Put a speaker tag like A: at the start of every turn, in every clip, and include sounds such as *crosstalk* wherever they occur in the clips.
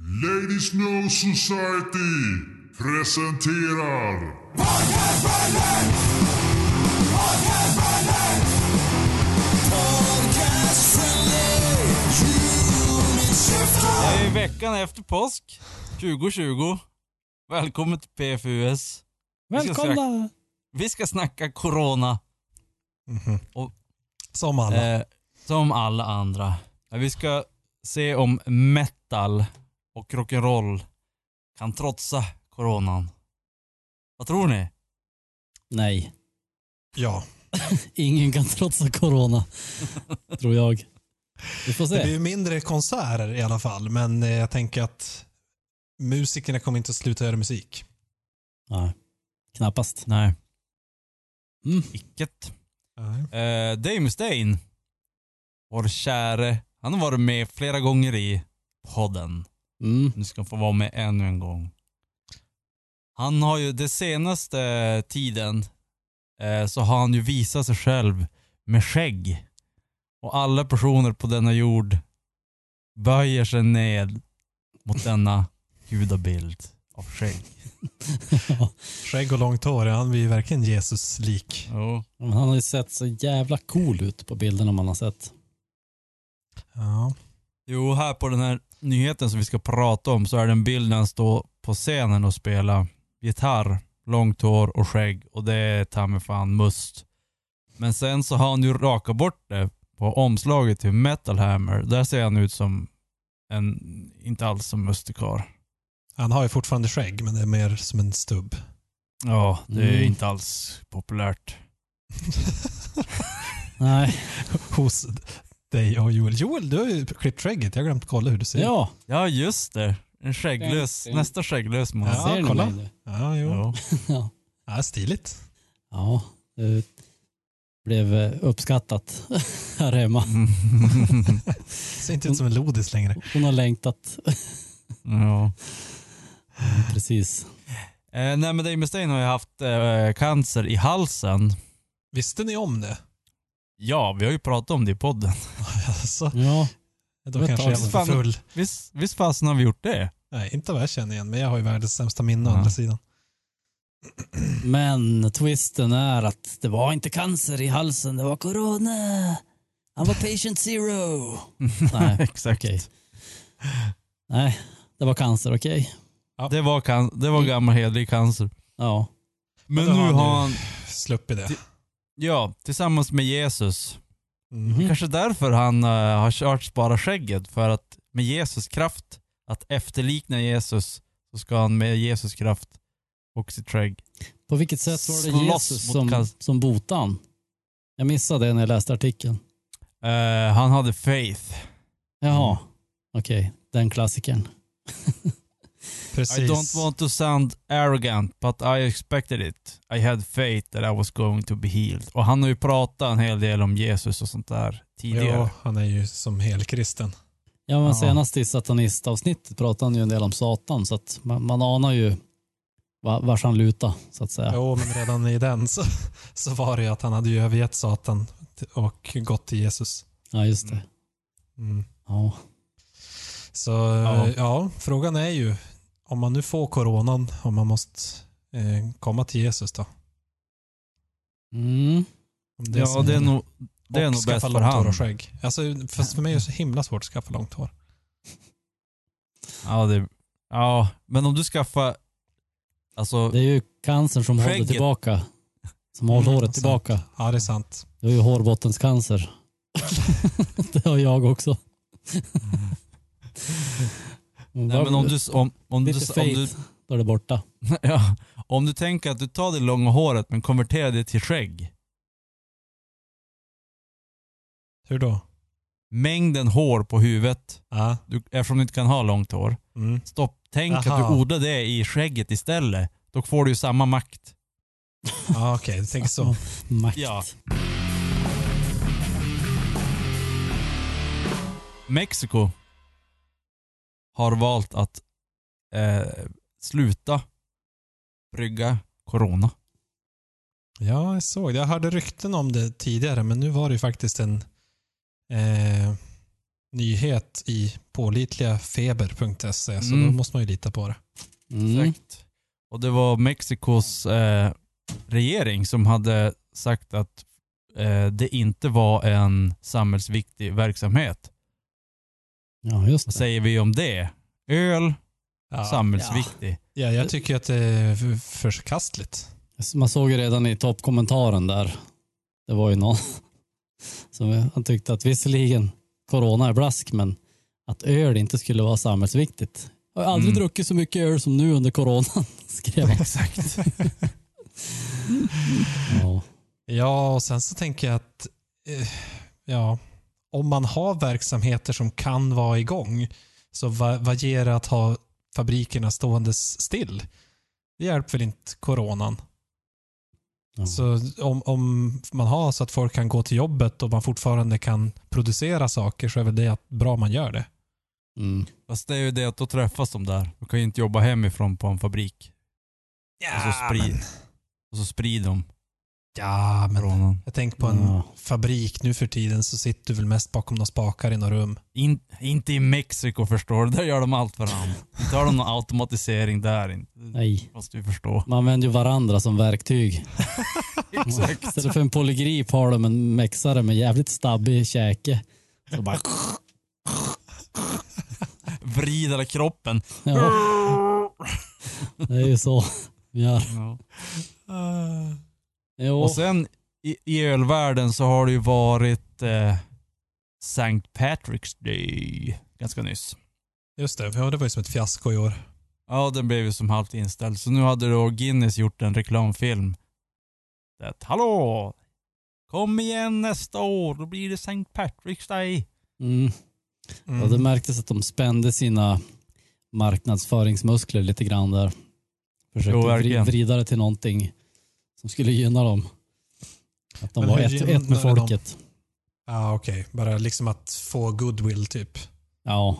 A: Ladies No Society presenterar...
B: Det är veckan efter påsk 2020. Välkommen till PFUS. Vi ska snacka,
C: Välkomna!
B: vi ska snacka corona
C: Som alla.
B: eh, som alla andra. Men Vi ska se om metal och rock'n'roll kan trotsa coronan. Vad tror ni?
D: Nej,
C: Ja.
D: ingen kan
C: *laughs*
D: trotsa corona. tror jag. Vi får
C: Det
D: se.
C: blir ju mindre konserter i alla fall, men eh, jag tänker att musikerna kommer inte att sluta göra musik.
D: Nej, knappast.
B: Nej.
D: Mm.
B: Vilket? Eh, Dave Mustaine, vår käre, han har varit med flera gånger i podden.
D: Mm.
B: Nu ska han få vara med ännu en gång. Han har ju, den senaste tiden, eh, så har han ju visat sig själv med skägg. Och alla personer på denna jord böjer sig ned mot denna gudabild av skägg.
C: Skägg och långt hår, ja, han blir ju verkligen Jesus-lik.
B: Jo.
D: Men han har ju sett så jävla cool ut på bilderna man har sett.
C: Ja.
B: jo, här på den här nyheten som vi ska prata om så är det en bild när han står på scenen och spelar gitarr, långt hår och skägg och det är ta mig fan must. Men sen så har han ju rakat bort det på omslaget till Metal Hammer. Där ser han ut som en, inte alls som Mustikar.
C: Han har ju fortfarande skägg, men det är mer som en stubb. *laughs*
B: Ja, det är
D: Mm.
B: inte alls populärt.
C: *laughs*
D: Nej,
C: Hos dig och Joel. Joel, du har ju klippt skägget. Jag har glömt kolla hur du ser ut.
D: ja.
B: Ja, just det. En skägglös,
D: Mm.
B: nästa skägglös man.
C: Ja,
D: ser ni
C: kolla.
D: mig nu?
C: Ja, jo.
B: Ja.
D: Ja.
C: Ja, stiligt.
D: ja, det blev eh, uppskattat *laughs* här hemma.
C: Ser inte ut som en lodis längre.
D: Hon har längtat.
B: *laughs* ja.
D: Precis.
B: Eh, nej men Dave Mustaine har ju haft eh, cancer i halsen.
C: Visste ni om det? *laughs*
B: Ja, vi har ju pratat om det i podden. *laughs*
C: Alltså,
D: Ja,
C: då
D: var ett
C: kanske jag
D: tag
C: var
B: sedan.
C: för full.
B: Visst, visst fasen har vi gjort det?
C: Nej, inte vad jag känner igen, men jag har ju världens sämsta minne å
B: Ja.
C: andra sidan.
D: men twisten är att det var inte cancer i halsen, det var corona. Han var
C: *laughs*
D: patient zero.
B: *laughs*
D: Nej.
B: Exakt.
D: Okej. Nej, det var cancer, okej?
B: Det var, can- det var gammal hedlig cancer.
D: Ja.
B: Men
C: då har
B: nu
C: han ju-
B: har han
C: Slupp i det.
B: Ja, tillsammans med Jesus.
C: Mhm.
B: Kanske därför han eh, har kört Spara skägget. För att med Jesus kraft, att efterlikna Jesus, så ska han med Jesus kraft och sitt skägg.
D: På vilket sätt var det
B: Slåss
D: Jesus
B: mot
D: som,
B: cancer.
D: som botade han? Jag missade det när jag läste artikeln.
B: Eh, han hade faith.
D: Jaha,
B: Mm.
D: okej. Den klassikern.
C: Precis.
B: I don't want to sound arrogant but I expected it. I had faith that I was going to be healed. Och han har ju pratat en hel del om Jesus och sånt där tidigare.
C: Ja, han är ju som helkristen.
D: Ja, men
B: Ja.
D: senast i satanistavsnittet pratade han ju en del om Satan, så att man, man anar ju va- vars han lutar, så att säga.
C: Jo, men redan i den så, så var det ju att han hade ju övergett Satan och gått till Jesus.
D: Ja, just det.
C: Mm.
D: Ja.
C: Så ja. ja, frågan är ju om man nu får coronan, om man måste eh, komma till Jesus då.
D: Mm.
C: Om
B: ja,
C: som
B: det är
C: gäller.
B: nog, det är
C: Och
B: nog
C: skaffa
B: bäst för
C: långt hår
B: han.
C: och skägg. Alltså, fast för mig är det så himla svårt att skaffa långt hår.
B: Ja, det, ja, men om du skaffar... Alltså,
D: Det är ju cancern som håller
B: Skägget. alltså.
D: tillbaka. Som håller
C: Mm,
D: håret
C: sant.
D: tillbaka.
C: Ja, det är sant.
D: Jag har ju hårbottenscancer. *laughs* det har jag också.
B: Nej, men om du, om, om, du,
D: Lite
B: om, du,
D: faith, då är det borta.
B: *laughs* ja, om du tänker att du tar det långa håret men konverterar det till skägg.
C: Hur då?
B: Mängden hår på huvudet,
C: Ja.
B: du, eftersom du inte kan ha långt hår.
C: Mm.
B: Stopp, tänk att
C: Aha.
B: du odlar det i skägget istället. Då får du ju samma makt.
C: Ja, okej, du tänker så.
D: Makt.
B: Ja. Mexiko har valt att eh, sluta brygga corona.
C: Ja, jag såg det. Jag hörde rykten om det tidigare, men nu var det ju faktiskt en... Eh, nyhet i pålitliga feber.se, E, så
B: Mm.
C: då måste man ju lita på det.
D: Mm.
B: Exakt. Och det var Mexikos eh, regering som hade sagt att eh, det inte var en samhällsviktig verksamhet.
D: Ja, just
B: Vad
D: det.
B: säger vi om det? Öl,
C: Ja.
B: samhällsviktig.
C: Ja, jag tycker att det är f- förkastligt.
D: Man såg ju redan i toppkommentaren där. Det var ju någon *laughs* som han tyckte att visserligen corona är blask, men att öl inte skulle vara samhällsviktigt. Jag har aldrig
B: Mm.
D: druckit så mycket öl som nu under coronan, *laughs* skrev han.
B: Exakt.
D: Ja.
C: Ja, och sen så tänker jag att eh, ja, om man har verksamheter som kan vara igång, så va- vad ger det att ha fabrikerna ståendes still? Det hjälper väl inte coronan?
D: Ja.
C: Så om, om man har så att folk kan gå till jobbet och man fortfarande kan producera saker så är väl det att- bra man gör det.
D: Mm.
B: Fast det är ju det att då träffas de där. De kan ju inte jobba hemifrån på en fabrik. Och så, sprid, och så sprider de
C: ja, men
B: coronan.
C: jag tänker på en
D: Ja.
C: fabrik nu för tiden så sitter du väl mest bakom några spakar i några rum.
B: In, inte i Mexiko förstår du. Där gör de allt för hand. Inte har de någon automatisering där. inte. Det
D: Nej,
B: måste vi
D: *laughs*
B: förstå.
D: man använder ju varandra som verktyg.
B: Exakt.
D: *laughs* Istället för en polygrip har de en mexare med jävligt stabbig käke.
B: *laughs*
D: Så bara,
B: Vrida hela kroppen.
D: ja, det är ju så vi gör.
B: Ja.
D: Jo,
B: Och sen i, i ölvärlden så har det ju varit eh, St. Patrick's Day ganska nyss.
C: Just det, ja, det var ju som ett fiasko i år.
B: Ja, den blev ju som halvt inställd. Så nu hade då Guinness gjort en reklamfilm. Det att, hallå! Kom igen nästa år, då blir det St. Patrick's Day.
D: mm.
C: Mm.
D: ja, det märktes att de spände sina marknadsföringsmuskler lite grann där. Försökte
B: Jo,
D: vri-
B: verkligen.
D: vrida det till någonting som skulle gynna dem. Att de
C: Men
D: var
C: hur
D: ett, ett med
C: gynnar de?
D: folket.
C: Ja, okej. Bara liksom att få goodwill typ.
D: Ja.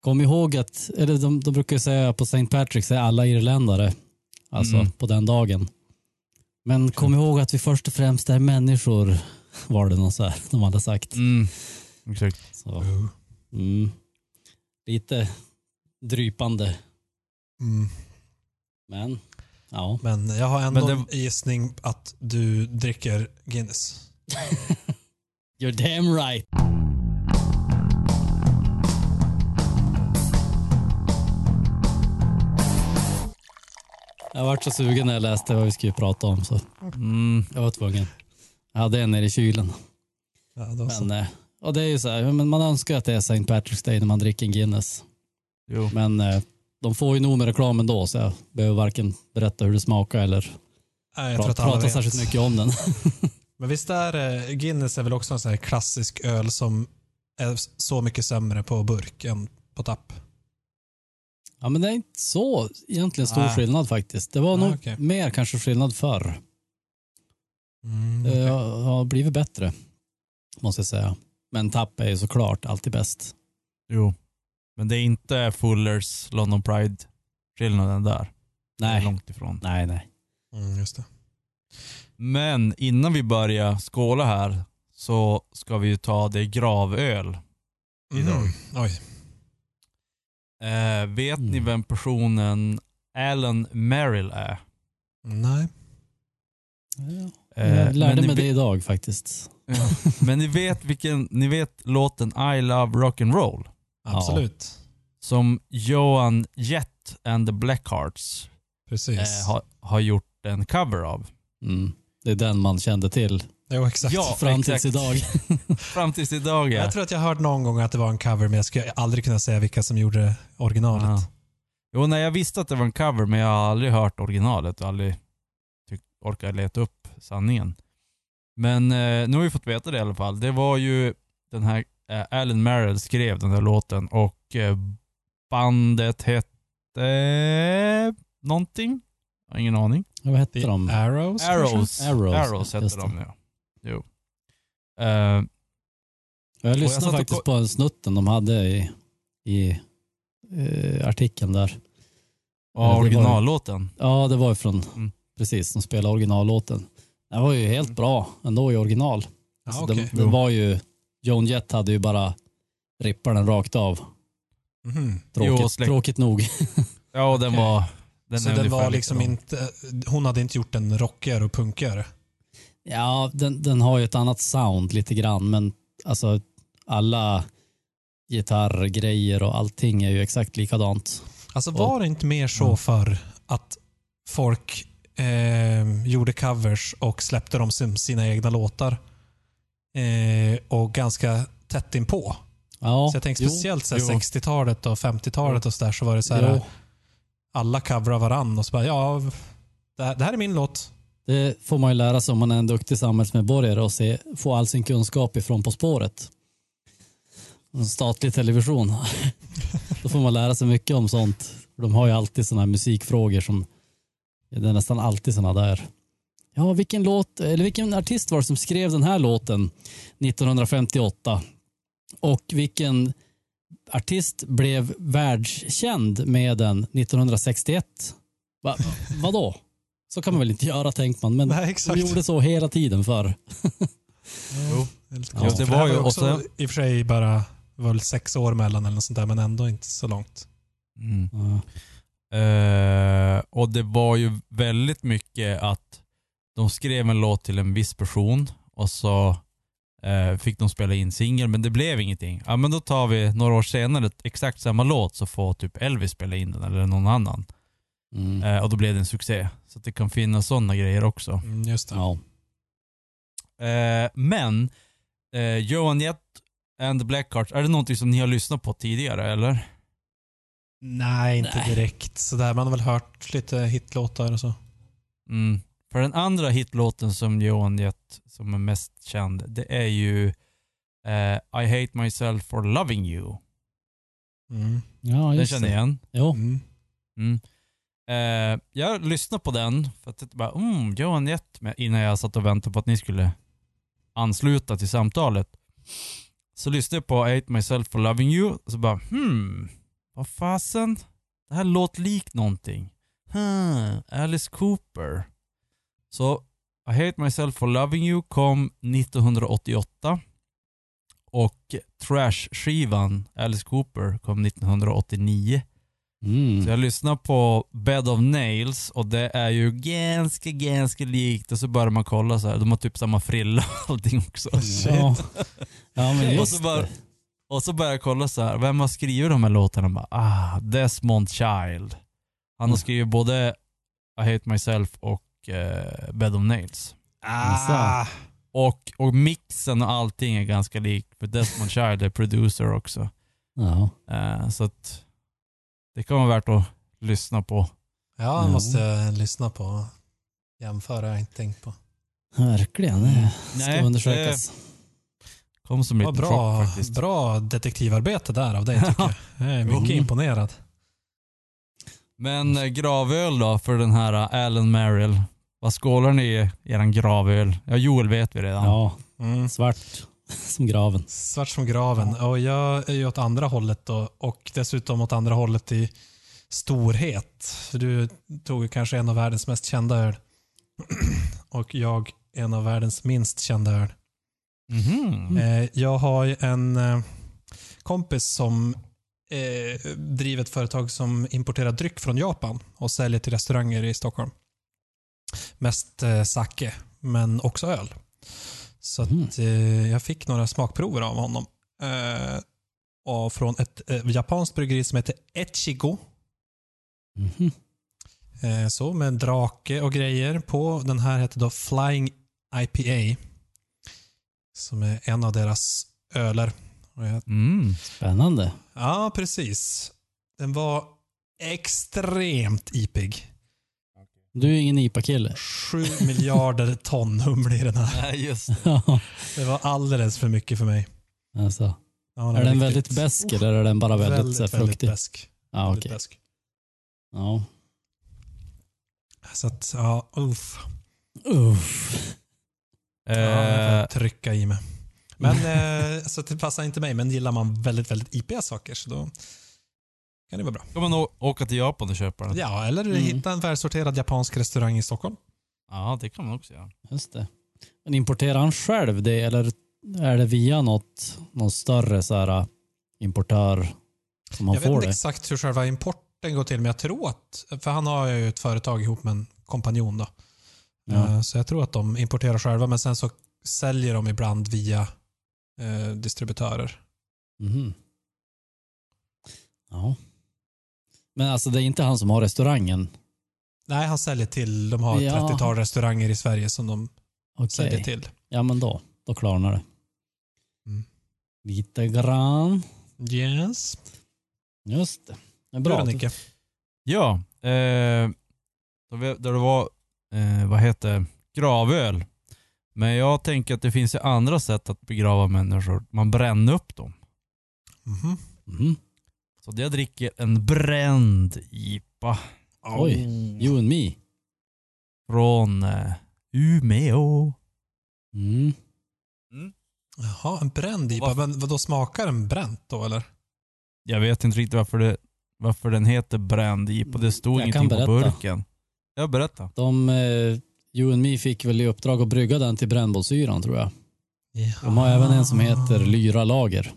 D: Kom ihåg att, eller de, de brukar ju säga på St. Patrick's är alla irländare. Alltså
B: Mm.
D: på den dagen. Men kom ihåg att vi först och främst är människor, *laughs* var det någon så här de hade sagt.
B: Mm. Exakt.
D: Så, mm. Lite drypande,
C: Mm.
D: men ja.
C: Men jag har ändå
B: Men
C: en gissning att du dricker Guinness.
D: You're damn right. Jag vart så sugen när jag läste vad vi skulle prata om så
B: Mm.
D: jag var tvungen. Jag hade en nere i kylen.
C: Ja, då så.
D: Men, eh, och det är ju så här, men man önskar att det är St. Patrick's Day när man dricker en Guinness.
B: Jo.
D: Men eh, de får ju nog med reklam ändå så jag behöver varken berätta hur det smakar eller
C: Nej, jag tror
D: pra-
C: att alla
D: prata
C: vet.
D: särskilt mycket om den. *laughs*
C: Men visst är eh, Guinness är väl också en sån här klassisk öl som är så mycket sämre på burk än på tapp.
D: Ja, men det är inte så egentligen stor
B: Nej.
D: skillnad faktiskt. Det var
C: Nej,
D: nog
C: okej.
D: mer kanske skillnad förr.
B: Eh,
C: Mm,
D: Det har- har blivit bättre, måste jag säga. Men tapp är ju såklart alltid bäst.
B: jo. Men det är inte Fullers London Pride-skillnaden där. Det är
D: Nej,
B: Långt ifrån.
D: nej, nej.
C: mm, just det.
B: Men innan vi börjar skåla här så ska vi ju ta det gravöl. Idag.
C: Mm. Oj.
B: Eh, vet ni
D: Mm.
B: vem personen Alan Merrill är?
C: Nej.
B: Eh,
D: Jag lärde
B: men
D: mig
B: ni,
D: det idag faktiskt.
B: det. Men ni vet, vilken, ni vet låten I Love Rock'n'Roll?
C: Absolut.
B: Som Johan Jett and the Blackhearts
C: Precis.
B: eh, har, har gjort en cover av.
D: Mm. Det är den man kände till
C: Jo, exakt.
B: Ja,
D: fram
B: exakt.
D: tills idag.
B: *laughs* Fram tills idag ja.
C: Jag tror att jag hört någon gång att det var en cover, men jag skulle aldrig kunna säga vilka som gjorde originalet.
B: Ja. Jo, nej, jag visste att det var en cover men jag har aldrig hört originalet och aldrig tyck- orkat leta upp sanningen. Men eh, nu har vi fått veta det i alla fall. Det var ju den här, eh, Alan Merrill skrev den här låten och eh, bandet hette någonting. Jag har ingen aning.
D: Vad hette
C: The
D: de?
C: Arrows?
B: Arrows.
D: kanske? Arrows,
B: Arrows
D: just
B: hette
D: det.
B: de ja. Jo. Eh,
D: Jag
B: satt
D: lyssnade
B: och
D: faktiskt
B: ko-
D: på en snutten de hade i, i eh, artikeln där.
B: och
D: det var-
B: originallåten.
D: Ja, det var ju från,
B: Mm.
D: precis, de spelade originallåten. Den var ju helt bra ändå i original.
C: Ja,
D: Alltså,
C: okej.
D: den, den var ju, Joan Jett hade ju bara rippar den rakt av.
C: Mhm.
D: Tråkigt,
B: Jo, och släck-
C: *laughs*
D: tråkigt nog.
B: Ja, och den
C: Okej.
B: var... Den
C: Så
B: är
C: den
B: ungefär
C: var liksom
B: likadan.
C: inte, hon hade inte gjort den rockigare och punkigare.
D: Ja, den, den har ju ett annat sound lite grann, men alltså alla gitarrgrejer och allting är ju exakt likadant.
C: Alltså var det inte mer
D: Mm.
C: så för att folk eh, gjorde covers och släppte dem som sina egna låtar? Eh, och ganska tätt inpå.
D: Ja,
C: så jag tänker
D: jo,
C: speciellt så
D: jo.
C: här 60-talet och 50-talet och sådär så var det så
D: Jo.
C: här alla covrar varann och så bara ja, det här, det här är min låt. *laughs*
D: Det får man ju lära sig om man är en duktig samhällsmedborgare och se, få all sin kunskap ifrån På spåret. En statlig television. Då får man lära sig mycket om sånt. De har ju alltid sådana här musikfrågor som, det är nästan alltid sådana där. Ja, vilken låt, eller vilken artist var det som skrev den här låten 1958? Och vilken artist blev världskänd med den 1961? Va, vadå? Så kan man väl inte göra, tänker man. Men
C: Nej, exakt.
D: de gjorde så hela tiden förr.
C: Jo. Det är lite
D: Ja,
C: konstigt.
B: det
C: För det
B: var
C: här
B: ju-
C: var ju också
B: och sen-
C: i och för sig bara var väl sex år mellan eller något sånt där, men ändå inte så långt.
B: Mm.
D: Ja.
B: Eh, och det var ju väldigt mycket att de skrev en låt till en viss person och så eh, fick de spela in singel men det blev ingenting. Ja men då tar vi några år senare exakt samma låt så får typ Elvis spela in den eller någon annan.
D: Mm.
B: Eh, och då blev det en succé. Så att det kan finnas sådana grejer också.
C: Mm, just det.
D: Ja.
B: Eh, men eh, Johan Jett and the Blackhearts, är det någonting som ni har lyssnat på tidigare eller?
C: Nej, inte
D: Nej.
C: direkt sådär. Man har väl hört lite hitlåtar och så.
B: Mm. För den andra hitlåten som Johan gett som är mest känd, det är ju eh, I hate myself for loving you.
C: Mm.
D: Ja,
B: Den
D: just
B: känner jag
D: det.
B: igen.
D: Jo.
C: Mm.
B: Mm. Eh, jag lyssnade på den för att jag bara, mm, Johan Jett, men innan jag satt och väntade på att ni skulle ansluta till samtalet. Så lyssnade jag på I hate myself for loving you och så bara, hmm, vad fasen? Det här låter likt någonting. Hmm, Alice Cooper. Så I hate myself for loving you kom 1988 och Trash-skivan Alice Cooper kom 1989. Så
D: Mm.
B: jag lyssnar på Bed of Nails och det är ju ganska, ganska likt och så börjar man kolla så här. de har typ samma frilla och allting också.
D: Ja. ja, men
C: *laughs*
B: Och så
D: Mm. just
B: bara-
D: det.
B: Och så börjar jag kolla så här. vem har skrivit de här låtarna? Bara, ah, Desmond Child. Han har
D: Mm.
B: skrivit både I Hate Myself och eh, Bed of Nails.
C: Ah,
B: Och, och mixen och allting är ganska likt för Desmond Child är producer också.
D: Ja.
B: Eh, så att det kan vara värt att lyssna på.
C: ja, den
D: Ja.
C: måste jag lyssna på. Jämföra har jag inte tänkt på.
D: Verkligen. Det ska
B: Nej, eh,
D: undersökas.
B: Kom som en
C: Ja,
B: liten chock
C: bra,
B: faktiskt.
C: bra detektivarbete där av dig
D: *laughs*
C: tycker jag. Jag är mycket
D: Jo.
C: imponerad.
B: Men eh, gravöl då för den här eh, Alan Merrill. Vad skålar ni i eran gravöl? Ja, Joel vet vi redan.
D: Ja,
C: Mm.
D: svart *laughs* som graven.
C: Svart som graven. Och jag är ju åt andra hållet då, och dessutom åt andra hållet i storhet. För du tog ju kanske en av världens mest kända öl. *clears throat* och jag en av världens minst kända öl.
B: Mhm.
C: Eh, jag har ju en eh, kompis som eh, driver ett företag som importerar dryck från Japan och säljer till restauranger i Stockholm. Mest eh, sake, men också öl. Så att,
D: Mm.
C: eh, jag fick några smakprover av honom. Eh, och från ett eh, japanskt bryggeri som heter Echigo.
D: Mhm.
C: Eh, så med drake och grejer på. Den här heter då Flying IPA. Som är en av deras öler. Och jag
B: Mm.
D: Spännande.
C: Ja, precis. Den var extremt ipig.
D: Du är ju ingen IPA-kille. *laughs*
C: 7 miljarder ton humle i den här.
B: Nej, just
D: Ja,
C: Det var alldeles för mycket för mig.
D: alltså.
C: Ja, den var
D: Är den väldigt
C: riktigt-
D: besk eller är den bara väldigt,
C: väldigt,
D: så här,
C: väldigt
D: fruktig?
C: besk.
D: ja,
C: Väldigt
D: okej.
C: besk.
D: Ja.
C: Så att, ja, uff.
D: Uff.
B: Eh,
C: Ja, jag får trycka i mig. Men, eh, så att det passar inte mig, men gillar man väldigt, väldigt ipiga saker så då kan det vara bra.
B: ska man å- åka till Japan och köpa den?
C: Ja, eller
D: Mm.
C: hitta en välsorterad japansk restaurang i Stockholm.
B: Ja, det kan man också göra.
D: Just det. Men importerar han själv det eller är det via något, någon större så här, eh, importör som man
C: jag vet
D: får
C: inte
D: det.
C: exakt hur själva importen går till, men jag tror att... För han har ju ett företag ihop med en kompanjon. Då.
D: Ja.
C: Eh, Så jag tror att de importerar själva, men sen så säljer de ibland via eh, distributörer.
D: Mhm. Ja. Men alltså det är inte han som har restaurangen?
C: Nej, han säljer till... De har ett
D: Ja.
C: 30-tal restauranger i Sverige som de
D: Okej.
C: säljer till.
D: Ja men då, då klarnar det.
C: Mm.
D: Lite grann.
C: Yes.
D: Just det. det är
C: Bra,
D: bra.
C: Bra Nicke.
B: Ja, eh, då vi- där det var, eh, vad heter gravöl. Men jag tänker att det finns ju andra sätt att begrava människor. Man bränner upp dem.
C: Mhm.
D: Mhm.
B: Så jag dricker en bränd IPA
D: Oj. You and me.
B: från eh, Umeå.
D: Mm.
C: Jaha, en bränd IPA.
B: Vad-
C: Men vadå, smakar den bränt då eller?
B: Jag vet inte riktigt varför, det, varför den heter bränd IPA. Det stod
D: Jag kan
B: ingenting på
D: berätta.
B: burken. Jag berätta.
D: De, eh, you and me fick väl i uppdrag att brygga den till brännbollsyran tror jag. De har även en som heter Lyra Lager.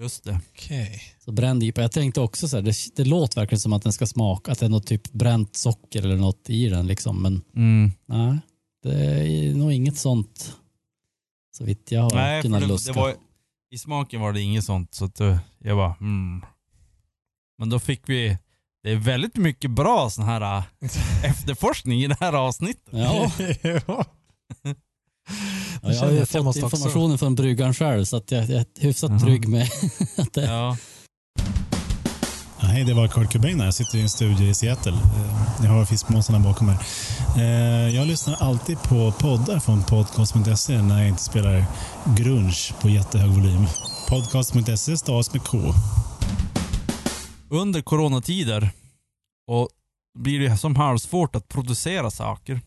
B: Just det.
C: Okej.
B: *laughs*
D: Så bränd IPA. Jag tänkte också så här, det, det låter verkligen som att den ska smaka, att det är något typ bränt socker eller något i den liksom. Men
B: Mm.
D: nej, det är nog inget sånt. Så vitt jag har
B: Nej, för
D: kunnat
B: det,
D: luska.
B: det var, i smaken var det inget sånt. Så att eh, jag bara, mm. Men då fick vi, det är väldigt mycket bra sån här eh, efterforskning i det här avsnittet. *laughs*
C: ja.
D: Ja, jag har
C: känner jag att
D: ju
C: jag
D: fått
C: måste också-
D: informationen från bryggaren själv så att jag, jag är hyfsat
B: Jaha.
D: trygg med att det
B: Ja.
E: Ja, Hej, det var Kurt Cobain här. Jag sitter i en studio i Seattle. Eh, Ni har fiskmåsarna bakom mig. Eh, Jag lyssnar alltid på poddar från podcast.se när jag inte spelar grunge på jättehög volym. Podcast.se stavas med K.
B: under coronatider och blir det som halvsvårt att producera saker.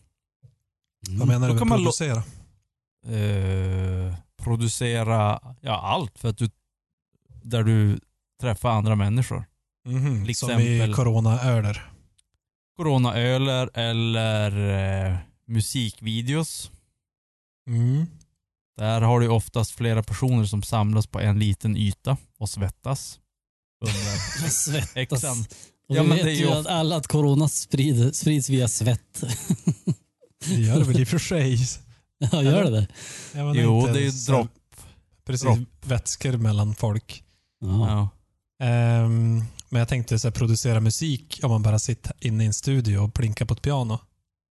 C: Vad menar du
B: Då
C: med
B: kan man lo-
C: producera?
B: Eh, producera ja, allt för att du, där du träffar andra människor.
C: Mhm,
B: Till
C: Som
B: exempel-
C: i coronaöler.
B: Coronaöler eller eh, musikvideos.
C: Mm.
B: Där har du oftast flera personer som samlas på en liten yta och svettas.
C: *laughs*
B: Under
D: jag svettas.
B: Exakt.
D: Och
B: Ja,
D: vi
B: men
D: vet
B: det är ju
D: ju
B: ofta-
D: att alla att corona sprid, sprids via svett. *laughs*
C: Det gör det väl i och för
B: *laughs*
C: sig.
D: ja, gör det det?
C: Jag menar
B: Jo,
C: inte
B: det är ju
C: så-
B: dropp.
C: Precis,
B: dropp.
C: vätskor mellan folk.
D: Ja.
B: Ja.
C: Ehm, men jag tänkte så här, producera musik om man bara sitter inne i en studio och plinkar på ett piano.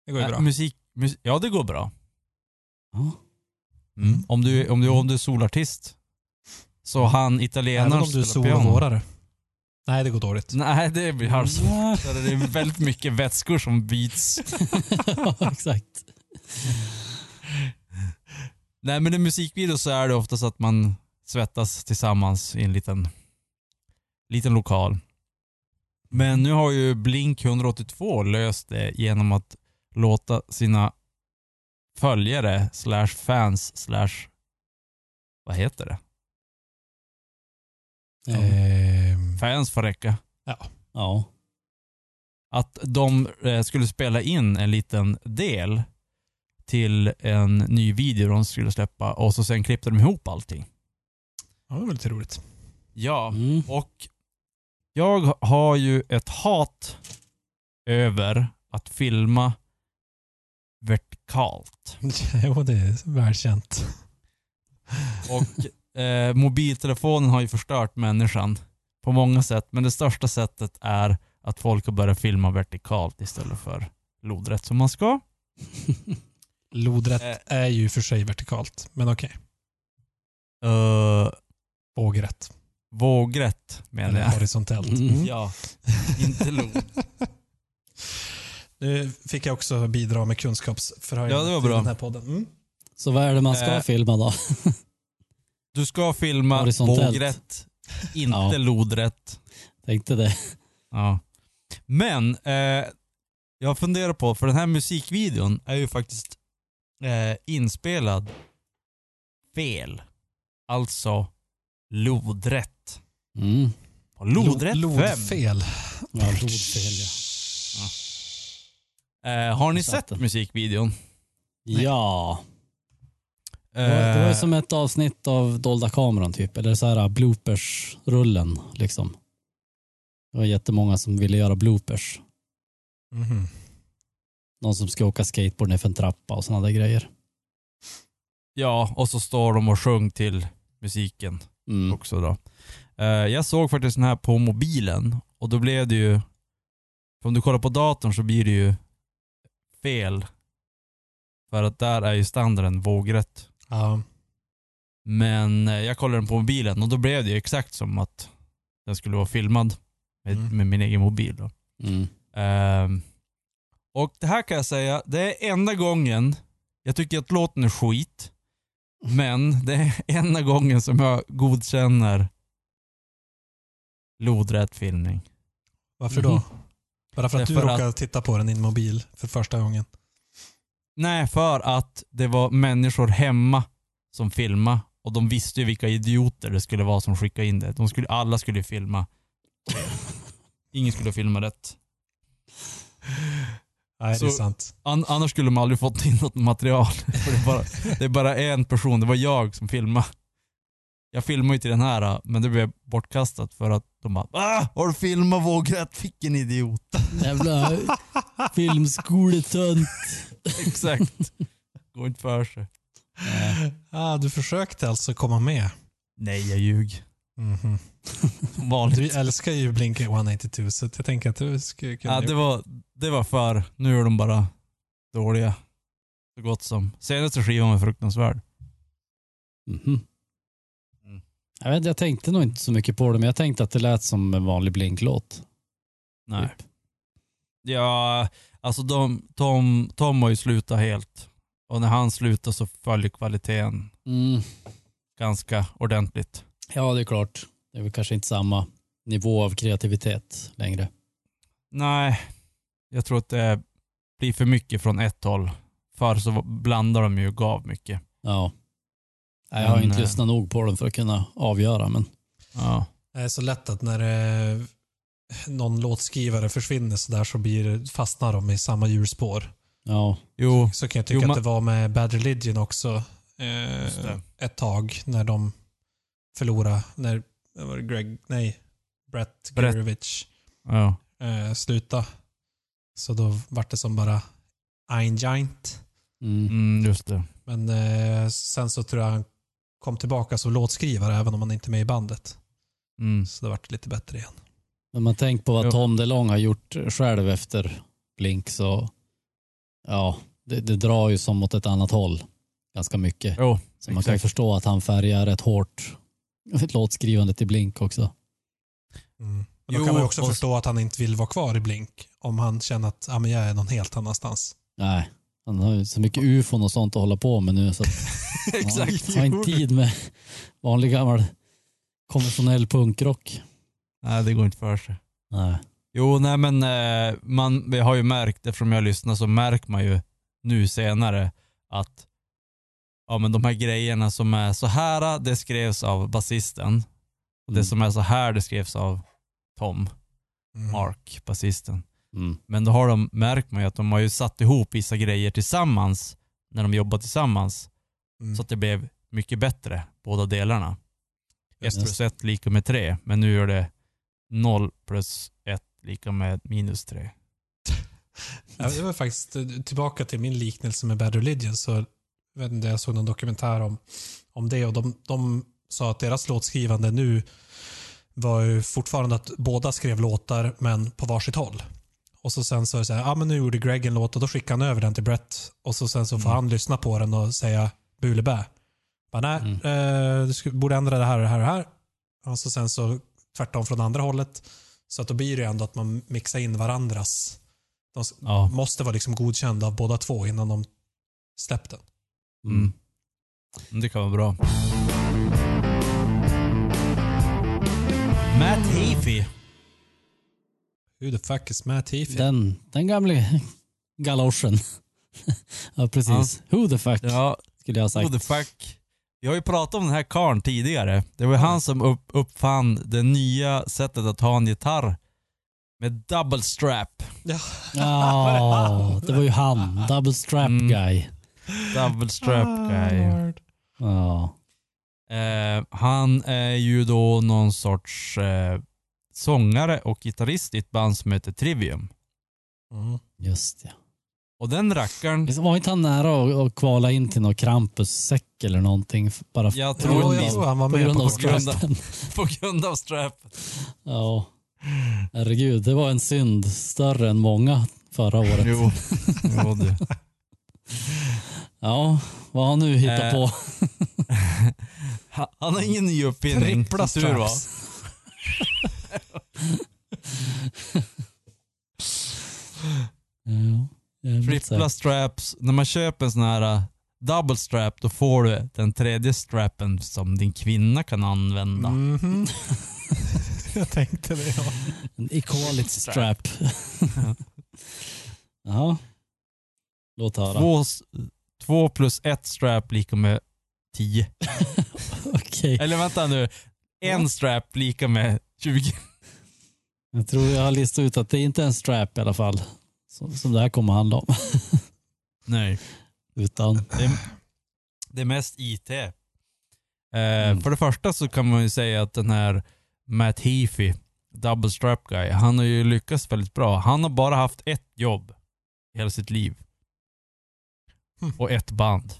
C: Det går ju
B: Äh,
C: bra.
B: musik, mus- ja, det går bra.
D: Ja.
B: Mm. Om, du, om, du, om du är solartist. Så han
C: Även
B: italienaren
C: om du är
B: spelar piano.
C: solvårdare. Nej, det går dåligt.
B: Nej, det blir
C: Mm.
B: halvsvårt. Det är väldigt mycket vätskor som byts.
D: *laughs* ja, exakt.
B: Nej, men i musikvideo så är det oftast att man svettas tillsammans i en liten, liten lokal. Men nu har ju Blink 182 löst det genom att låta sina följare slash fans slash vad heter det?
D: Ja.
B: Mm.
C: Ehm,
B: Fans får räcka.
D: ja.
B: att de eh, skulle spela in en liten del till en ny video de skulle släppa och så sen klippte de ihop allting.
C: ja, det var lite roligt. *laughs*
B: Ja,
D: Mm. *laughs*
B: och jag har ju ett hat över att filma vertikalt.
C: jo, det är välkänt.
D: *laughs*
B: Och eh, mobiltelefonen har ju förstört människan på många sätt, men det största sättet är att folk har börjat filma vertikalt istället för lodrätt som man ska.
C: Lodrätt
B: Eh.
C: är ju för sig vertikalt, men okej.
B: Eh,
C: Vågrätt.
B: vågrätt menar
C: Eller
B: jag.
C: horisontellt.
D: Mm.
B: Ja, inte lod.
C: Nu fick jag också bidra med kunskapsförhöjning
B: Ja, det var
C: till
B: bra.
C: den här podden. Mm.
D: Så vad är det man ska
B: Eh.
D: filma då? *laughs*
B: Du ska filma
D: Horisontellt.
B: vågrätt, inte
D: Ja.
B: lodrätt.
D: Tänkte det.
B: Ja. Men eh, jag funderar på, för den här musikvideon är ju faktiskt eh, inspelad fel. Alltså lodrätt.
D: Mm.
B: På lodrätt
C: Lo-
B: 5.
C: Lodfel.
D: Ja, rodfel, ja.
B: Eh, har ni
D: Satt
B: sett
D: den.
B: musikvideon?
D: Ja. Det var, det var ju
B: Eh,
D: som ett avsnitt av Dolda kameran typ, eller så här bloopers-rullen liksom. Det var jättemånga som ville göra bloopers.
C: Mhm.
D: Någon som ska åka skateboard nerför en trappa och sådana där grejer.
B: Ja, och så står de och sjöng till musiken
D: Mm.
B: också då. Eh, jag såg faktiskt den här på mobilen och då blev det ju, för om du kollar på datorn så blir det ju fel. För att där är ju standarden vågrätt.
C: Ja.
B: Men eh, jag kollade den på mobilen och då blev det ju exakt som att den skulle vara filmad med,
C: Mm.
B: med min egen mobil. Då.
D: Mm.
B: Ehm, och det här kan jag säga, det är enda gången, jag tycker att låten är skit, men det är enda gången som jag godkänner lodrätt filmning.
C: Varför då?
D: Mhm.
B: Mm-hmm.
C: Bara för att du
B: Därför
C: råkade titta på den i din mobil för första gången.
B: Nej, för att det var människor hemma som filmade och de visste ju vilka idioter det skulle vara som skickade in det. De skulle, alla skulle ju filma. Ingen skulle filma rätt.
C: Nej, det är
B: Så-
C: sant.
B: An- annars skulle man aldrig fått in något material. *laughs* För det, är bara, det är bara en person, det var jag som filmade. Jag filmade ju till den här men det blev bortkastat för att de bara ah, Har du filmat vågrätt? Vilken idiot. *laughs*
D: Jävla filmskoletönt.
B: Exakt. Går inte för sig.
C: Ah, du försökte alltså komma med.
B: Nej, jag ljug.
C: Mhm.
B: Som vanligt.
C: Du älskar ju Blink 182 så jag tänker att du skulle kunna...
B: Ja, det var, det var för. Nu är de bara dåliga. Så gott som. Senaste skivan var fruktansvärd.
D: Mhm.
B: Mm.
D: Jag, vet, jag tänkte nog inte så mycket på det, men jag tänkte att det lät som en vanlig blinklåt.
B: Nej.
D: Typ.
B: Ja, alltså de, Tom, Tom har ju slutat helt. Och när han slutar så följer kvaliteten
D: Mm.
B: ganska ordentligt.
D: Ja, det är klart. Det är väl kanske inte samma nivå av kreativitet längre.
B: Nej, jag tror att det blir för mycket från ett håll. Förr så blandar de ju och gav mycket.
D: Ja. Nej, jag har
B: Men,
D: inte
B: eh,
D: lyssnat nog på den för att kunna avgöra, men
B: Ja.
C: Det är så lätt att när eh, någon låtskrivare försvinner så där så blir, det- fastnar de i samma hjulspår.
D: ja.
B: Jo,
C: Så kan jag tycka
B: Jo,
C: att
B: man-
C: det var med Bad Religion också
B: Just
C: eh,
B: det.
C: ett tag när de förlorade, när vad var det Greg, nej, Brett
B: Brett.
C: Gurevich
B: ja.
C: eh, slutade. Så då vart det som bara ein giant.
D: Mm.
B: Mm, just det.
C: Men eh, sen så tror jag han kom tillbaka som låtskrivare även om han inte är med i bandet. *laughs*
B: Mm.
C: Så det vart lite bättre igen.
D: När man tänker på vad
B: Jo.
D: Tom DeLong har gjort själv efter Blink så ja, det, det drar ju som åt ett annat håll ganska mycket.
B: Jo,
D: Så man kan ju
B: exakt.
D: förstå att han färgar rätt hårt *laughs* låtskrivandet i Blink också.
C: Mm. Men då
B: Jo,
C: kan man ju också
B: och-
C: förstå att han inte vill vara kvar i Blink om han känner att ah, men jag är någon helt annanstans.
D: Nej, han har ju så mycket ufon och sånt att hålla på med
B: *laughs*
D: nu så att han har- har inte tid med vanlig gammal konventionell punkrock.
B: Nej, det går inte för sig.
D: Nej.
B: Jo, nej men eh, man, jag har ju märkt, eftersom jag lyssnar så märker man ju nu senare att ja, men de här grejerna som är så här, det skrevs av basisten. Och Det
D: Mm.
B: som är så här, det skrevs av Tom,
C: Mm.
B: Mark, basisten.
D: Mm.
B: Men då har de märkt man ju att de har ju satt ihop vissa grejer tillsammans när de jobbar tillsammans
C: Mm.
B: så att det blev mycket bättre, båda delarna.
D: Just
B: Ett
D: det.
B: plus ett lika med tre, men nu är det noll plus ett lika med minus tre.
C: Ja, det var faktiskt eh, tillbaka till min liknelse med Bad Religion. Så, jag, vet inte, jag såg någon dokumentär om, om det och de, de sa att deras låtskrivande nu var ju fortfarande att båda skrev låtar men på varsitt håll. Och så sen så är det så här, ah, men nu gjorde Greg en låt och då skickar han över den till Brett. Och så sen så får
B: Mm.
C: han lyssna på den och säga bulebä. Bara, nej,
D: Mm.
C: eh, du sku- borde ändra det här och det här och det här. Och så sen så tvärtom från andra hållet. Så att då blir det ju ändå att man mixar in varandras de s-
B: Ja.
C: måste vara liksom godkända av båda två innan de släppte den.
B: Mm. Det kan vara bra. Matt Heafy.
C: Who the fuck is Matt Heafy?
D: Den, den gamle galoschen. *laughs* ja, precis. Who the fuck
B: Ja,
D: skulle jag ha sagt.
B: who the fuck. Vi har ju pratat om den här karln tidigare. Det var ju han som upp, uppfann det nya sättet att ha en gitarr med double strap.
D: Ja, det var ju han. Double strap
B: Mm.
D: guy.
B: Double strap guy.
D: Ja.
B: Ah. Eh, han är ju då någon sorts eh, sångare och gitarrist i ett band som heter Trivium.
C: Mm.
D: Just ja.
B: Och den rackaren,
D: Visst Var inte han nära att, att kvala in till någon Krampus-säck eller någonting? f- Bara f-
B: Jag
D: på
B: tror-
D: grund
C: Ja, jag
D: av-
C: tror han var
D: på
C: med
D: grund
C: på
D: av
B: podcasten.
D: straffen.
B: på grund av strappen,
D: Ja. Herregud, det var en synd större än många förra året.
B: Jo, jo du.
D: Ja, vad har han nu hittat
B: Eh,
D: på?
B: Han han har ingen ny uppfinning.
C: Trippla
B: som tur var.
C: straps.
D: Ja, jävligt
B: Trippla
D: säkert.
B: straps. När man köper en sån här uh, double strap då får du den tredje strappen som din kvinna kan använda.
C: Mhm. *laughs* jag tänkte det. Ja.
D: En equality strap. ja. Låt höra.
B: Två, s- två plus ett strap lika med tio.
D: Okej.
B: Eller vänta nu. En strap lika med 20.
D: Jag tror jag har listat ut att det inte är en strap i alla fall. Som, som det här kommer handla om. *laughs*
B: Nej.
D: Utan,
B: Det är, det är mest IT. Eh, För det första så kan man ju säga att den här Matt Heafy, double strap guy, han har ju lyckats väldigt bra. Han har bara haft ett jobb i hela sitt liv.
C: Hmm.
B: Och ett band.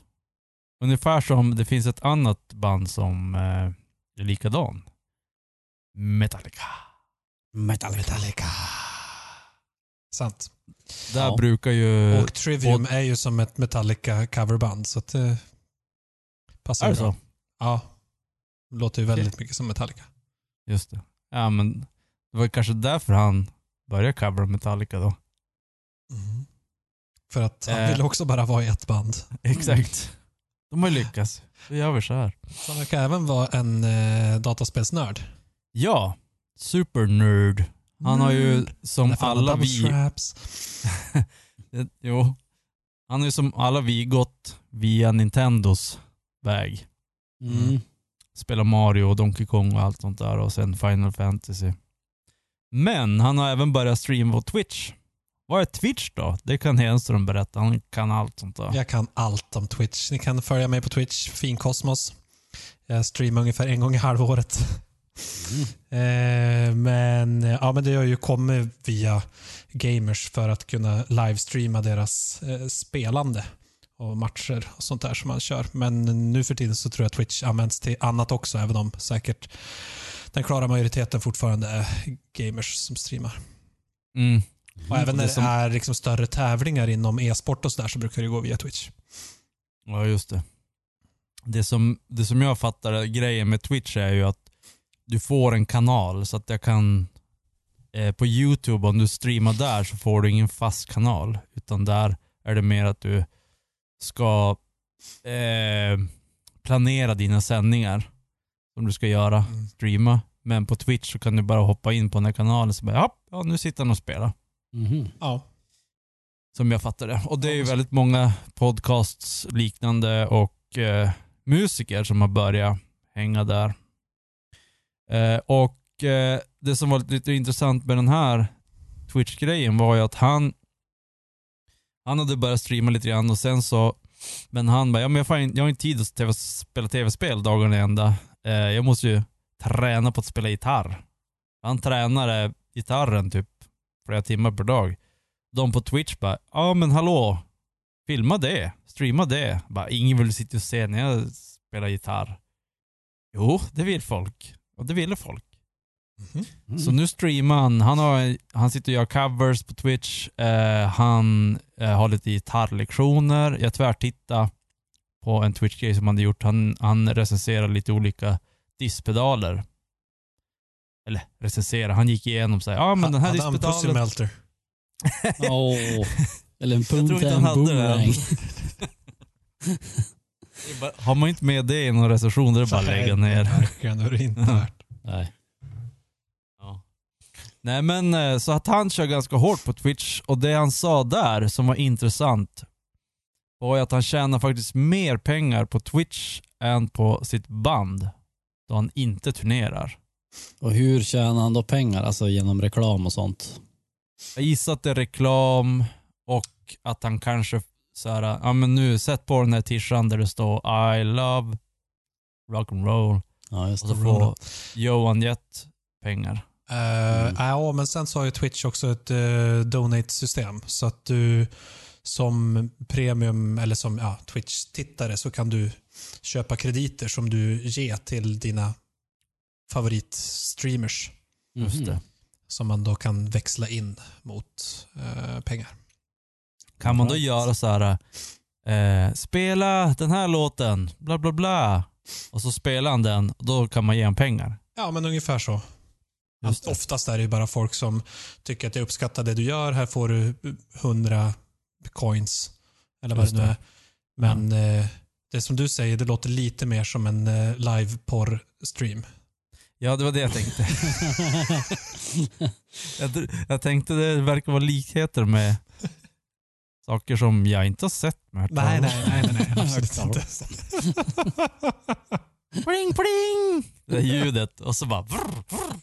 B: Ungefär som det finns ett annat band som eh, är likadan. Metallica.
C: Metallica. Sant.
B: Där
D: Ja.
B: brukar ju...
C: Och Trivium är ju som ett Metallica coverband så att det passar
B: är
C: ju
B: det
C: bra.
B: så?
C: Ja. Låter ju väldigt mycket som Metallica.
B: Just det. Ja men det var kanske därför han började covera Metallica då.
C: För att han
B: Mm. Eh.
C: ville också bara vara i ett band.
B: Exakt. Mm. De har ju lyckats. Då gör vi så här.
C: Han verkar även vara en eh, dataspelsnörd.
B: Ja, supernerd. Han har ju som
C: Därför han har
B: alla
C: double
B: vi... eh,
C: straps.
B: Jo. Han har ju som alla vi gått via Nintendos väg.
D: mm.
B: Spela Mario och Donkey Kong och allt sånt där och sen Final Fantasy. Men han har även börjat streama på Twitch. Vad är Twitch då? Det kan Henström berätta. Han kan allt sånt där.
C: Jag kan allt om Twitch. Ni kan följa mig på Twitch, finkosmos. Jag streamar ungefär en gång i halvåret.
B: Mm.
C: Eh, men, eh, ja, men det har ju kommit via gamers för att kunna livestreama deras eh, spelande och matcher och sånt där som man kör. Men nu för tiden så tror jag Twitch används till annat också, även om säkert den klara majoriteten fortfarande är gamers som streamar.
B: Mm.
C: Och även
B: Och
C: när
B: det
C: det
B: som-
C: är liksom större tävlingar inom e-sport och sådär så brukar det gå via Twitch.
B: Ja, just det. Det som, det som jag fattar är grejen med Twitch är ju att du får en kanal så att jag kan... Eh, på YouTube, om du streamar där så får du ingen fast kanal. Utan där är det mer att du ska eh, planera dina sändningar som du ska göra,
C: Mm.
B: streama. Men på Twitch så kan du bara hoppa in på den här kanalen så bara, "Japp, ja, nu sitter han och spelar.
D: Mhm.
C: Ja.
B: Som jag fattar det. Och det är ju väldigt många podcasts liknande och eh, musiker som har börjat hänga där. Eh, och eh, det som var lite intressant med den här Twitch-grejen var ju att han han hade börjat streama lite grann och sen så men han bara, ja, men jag, får in, jag har inte tid att TV, spela tv-spel dagarna i ända. Eh, jag måste ju träna på att spela gitarr. Han tränade gitarren typ flera timmar per dag de på Twitch bara, ja men hallå, filma det, streama det. Bara, Ingen vill sitta och se när jag spelar gitarr. Jo, det vill folk. Och det ville folk.
C: Mhm.
D: Mm.
B: Så nu streamar han. Han, har, han sitter och gör covers på Twitch. Eh, han eh, har lite gitarrlektioner. Jag tvärtittade på en Twitch-grej som han hade gjort. Han, han recenserar lite olika disspedaler. Eller recenserar, han gick igenom så här, ja men den här
C: Han hade en
B: disspedalen
C: pussy melter.
D: Åh. Eller en
B: tror
D: punkt
B: inte
D: en
B: han hade det.
D: boomerang.
B: Det är bara- Har man inte med det i någon recension, då är det bara att lägga ner.
C: Verkligen, det är det inte värt.
D: Nej.
B: Nej men eh, så att han kör ganska hårt på Twitch och det han sa där som var intressant var ju att han tjänar faktiskt mer pengar på Twitch än på sitt band då han inte turnerar.
D: Och hur tjänar han då pengar? Alltså genom reklam och sånt?
B: Jag gissar att det är reklam och att han kanske så här, ja men nu sätt på den här t-shirten där det står I love rock'n'roll.
D: Ja, just
B: Och så
D: det.
B: får Johan Jett pengar.
C: Eh,
B: Mm.
C: Ja, men sen så har ju Twitch också ett eh, donate-system. Så att du som premium, eller som ja, Twitch-tittare, så kan du köpa krediter som du ger till dina favoritstreamers.
D: Mhm.
B: Just det.
C: Som man då kan växla in mot eh, pengar.
B: Kan man då
D: Right.
B: göra så här, eh, spela den här låten, bla bla bla. Och så spelar han den, och då kan man ge en pengar.
C: Ja, men ungefär så.
B: Just det.
C: Oftast är det ju bara folk som tycker att jag uppskattar det du gör. Här får du 100 coins. Eller vad
B: Just
C: det nu
B: det.
C: är. Men eh, det som du säger, det låter lite mer som en eh, live-porr-stream.
B: Ja, det var det
C: *laughs*
B: jag tänkte. jag, tr- jag tänkte det verkar vara likheter med saker som jag inte har sett. Men hört
C: Nej,
B: talas om.
C: nej, nej, nej, *laughs* nej absolut inte.
B: Pling, pling! Det där ljudet och så bara... Vrr, vrr.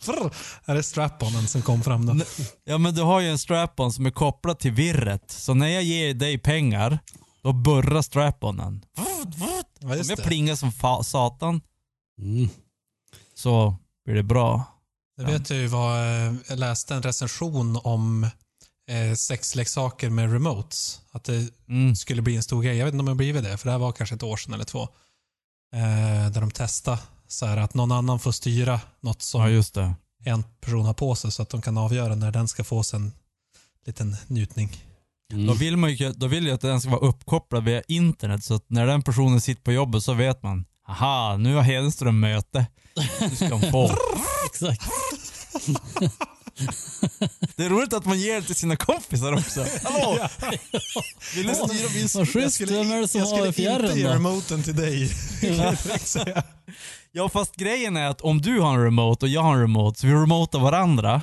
C: Frr, Är det strap-onen som kom fram då?
B: Nej. Ja, men du har ju en strap-on som är kopplad till virret. Så när jag ger dig pengar, då burrar strap-onen.
C: Ja,
B: Om
C: just
B: jag
C: det.
B: plingar som fa- satan
D: *laughs* Mm.
B: så blir det bra.
C: Jag vet ju vad, eh, jag läste en recension om eh, sexleksaker med remotes. Att det
B: Mm.
C: skulle bli en stor grej. Jag vet inte om det har blivit det, för det här var kanske ett år sedan eller två. Eh, där de testade så här, att någon annan får styra något som
B: Ja, just det.
C: en person har på sig så att de kan avgöra när den ska få sig en liten njutning.
B: Då
D: Mm.
B: vill, man ju, då vill jag att den ska vara uppkopplad via internet så att när den personen sitter på jobbet så vet man. Aha, nu har Hedenström möte. Nu ska han få.
D: Exakt.
B: Det är roligt att man ger det till sina kompisar också. Hallå! Vill du styra min...
D: Vad schysst. Vem är det som har fjärren då?
C: remoten till dig. *laughs*
B: Ja, fast grejen är att om du har en remote och jag har en remote så vi remotar varandra.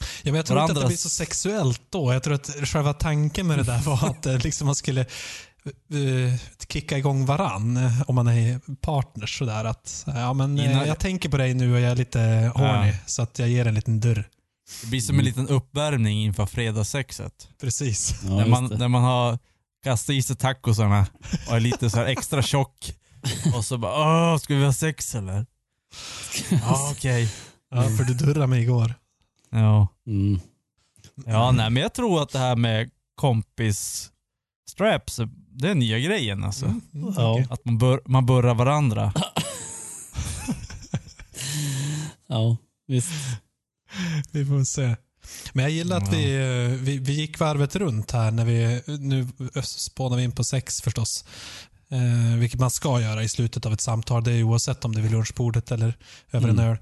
C: Ja, men jag tror inte att det
B: Varandras-
C: blir så sexuellt då. Jag tror att själva tanken med det där var att eh, liksom man skulle eh, kicka igång varann eh, om man är partners. Sådär, att, ja, men, eh,
B: Innan-
C: Jag tänker på dig nu och jag är lite horny så att jag ger en liten dörr.
B: Det blir som en liten uppvärmning inför fredagssexet.
C: Precis.
D: Ja,
B: när,
D: just
B: man,
D: det.
B: när man har kastat i sig tacosarna och är lite så här extra tjock. Och så bara åh, ska vi ha sex
D: *laughs*
B: eller? Ja, okej.
C: Ja, för du durrade mig igår.
B: Ja.
D: Mm.
B: ja, nej men jag tror att det här med kompis straps, det är nya grejen alltså.
D: Mm. Ja.
C: okej.
B: Att man, bör, man burrar varandra.
D: ja, visst.
C: Vi får se. Men jag gillar att vi, eh, vi, vi gick varvet runt här när vi, nu spånar vi in på sex förstås. Eh, vilket man ska göra i slutet av ett samtal. Det är ju oavsett om det är vid lunchbordet eller över en
D: Mm.
C: öl.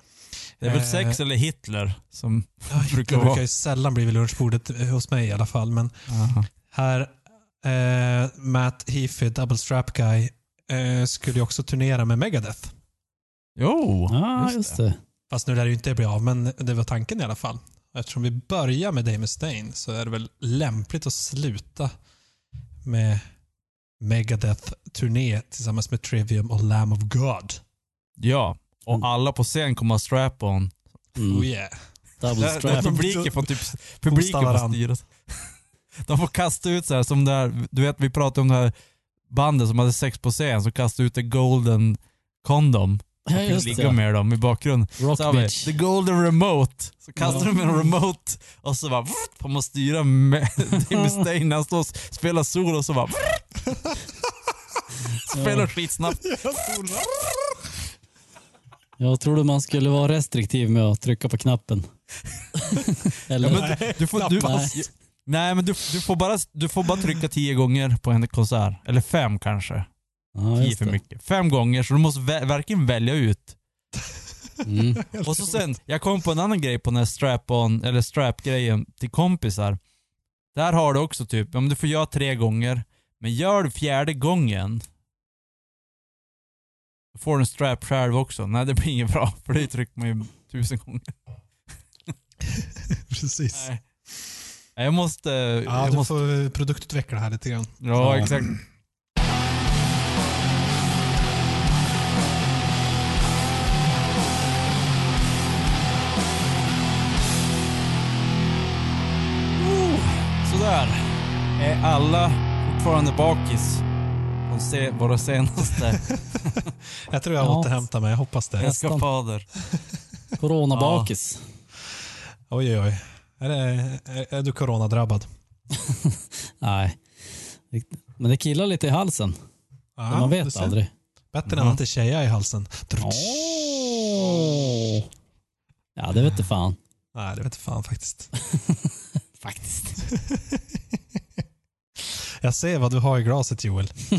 B: Det är väl
C: Eh,
B: sex eller Hitler som
C: Ja,
B: brukar
C: det brukar
B: vara.
C: ju sällan bli vid lunchbordet eh, hos mig i alla fall. Men
B: Aha.
C: här, eh, Matt Heafy, Double Strap Guy, eh, skulle ju också turnera med Megadeth.
B: Jo,
D: Ja, just det.
C: Fast nu lär det ju inte bli av, men det var tanken i alla fall. Eftersom vi börjar med Damon Stain så är det väl lämpligt att sluta med Megadeth-turné tillsammans med Trivium och Lamb of God.
B: Ja, och alla på scen kommer ha strap-on.
C: Oh
D: Mm.
C: yeah.
D: Double
B: Där- där
D: strap.
B: Publiken får typ publiken
C: Hostar
B: får
C: varann.
B: styra. *laughs* De får kasta ut så här som där, du vet vi pratade om det här bandet som hade sex på scen som kastade ut en golden condom.
D: Ja,
B: Jag
D: just
B: fick ligga
D: det.
B: med dem i bakgrunden.
D: Rock
B: Så har vi,
D: bitch.
B: the golden remote. Så kastar
D: Ja.
B: de en remote och så bara vrrt, får man styra med *laughs* Jimmy Stein när han står och spelar solo och så bara vrrt. Spelar skitsnabbt.
D: Jag trodde man skulle vara restriktiv med att trycka på knappen. Eller?
B: Ja, men du, du får, du,
D: knappast.
B: nej men du, du, får bara, du får bara trycka tio gånger på en konsert. Eller fem kanske.
D: ja,
B: tio
D: just
B: för
D: det.
B: mycket. Fem gånger, så du måste vä- verkligen välja ut.
D: Mm.
B: Och så sen, jag kom på en annan grej på den här strap-on, eller strap-grejen till kompisar. Där har du också typ, om du får göra tre gånger, men gör du fjärde gången, då får du en strap själv också. Nej, det blir inget bra, *laughs* för det trycker man ju tusen gånger.
C: Precis.
B: Nej. Nej, Jag måste...
C: Ja,
B: jag
C: du
B: måste
C: får produktutveckla här lite grann.
B: ja, exakt. Oh, sådär. Är alla fortfarande bakis från se våra *laughs* senaste
C: Jag tror jag
D: Ja.
C: återhämtar mig. Jag hoppas det.
D: Nästan.
B: eskapader.
D: Coronabakis.
C: Oj, oj, oj. Är, det, är, är du coronadrabbad?
D: Nej. Men det killar lite i halsen.
C: Ja,
D: men man
C: du
D: vet
C: ser.
D: aldrig. Mm.
C: Bättre än
B: Ja.
C: att det är tjeja i halsen.
D: Ja, det vet du fan.
C: Nej, det vet fan faktiskt. *laughs*
D: Faktiskt.
C: Jag ser vad du har i glaset Joel.
D: *laughs*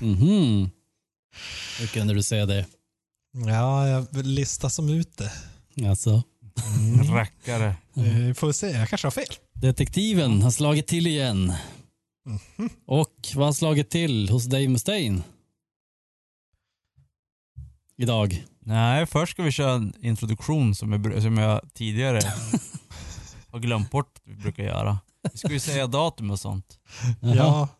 D: Mhm. Hur kunde du säga det?
C: Ja, jag listar som ut det.
D: Alltså,
B: Mm. Rackare.
D: Mm.
C: Eh, Får vi se, jag kanske har fel.
D: detektiven har slagit till igen. Och vad har slagit till hos Dave Mustaine? Idag.
B: Nej, först ska vi köra en introduktion som jag, som jag *laughs* tidigare har glömt bort att vi brukar göra. Vi ska ju säga datum och sånt.
D: Jaha.
C: Ja,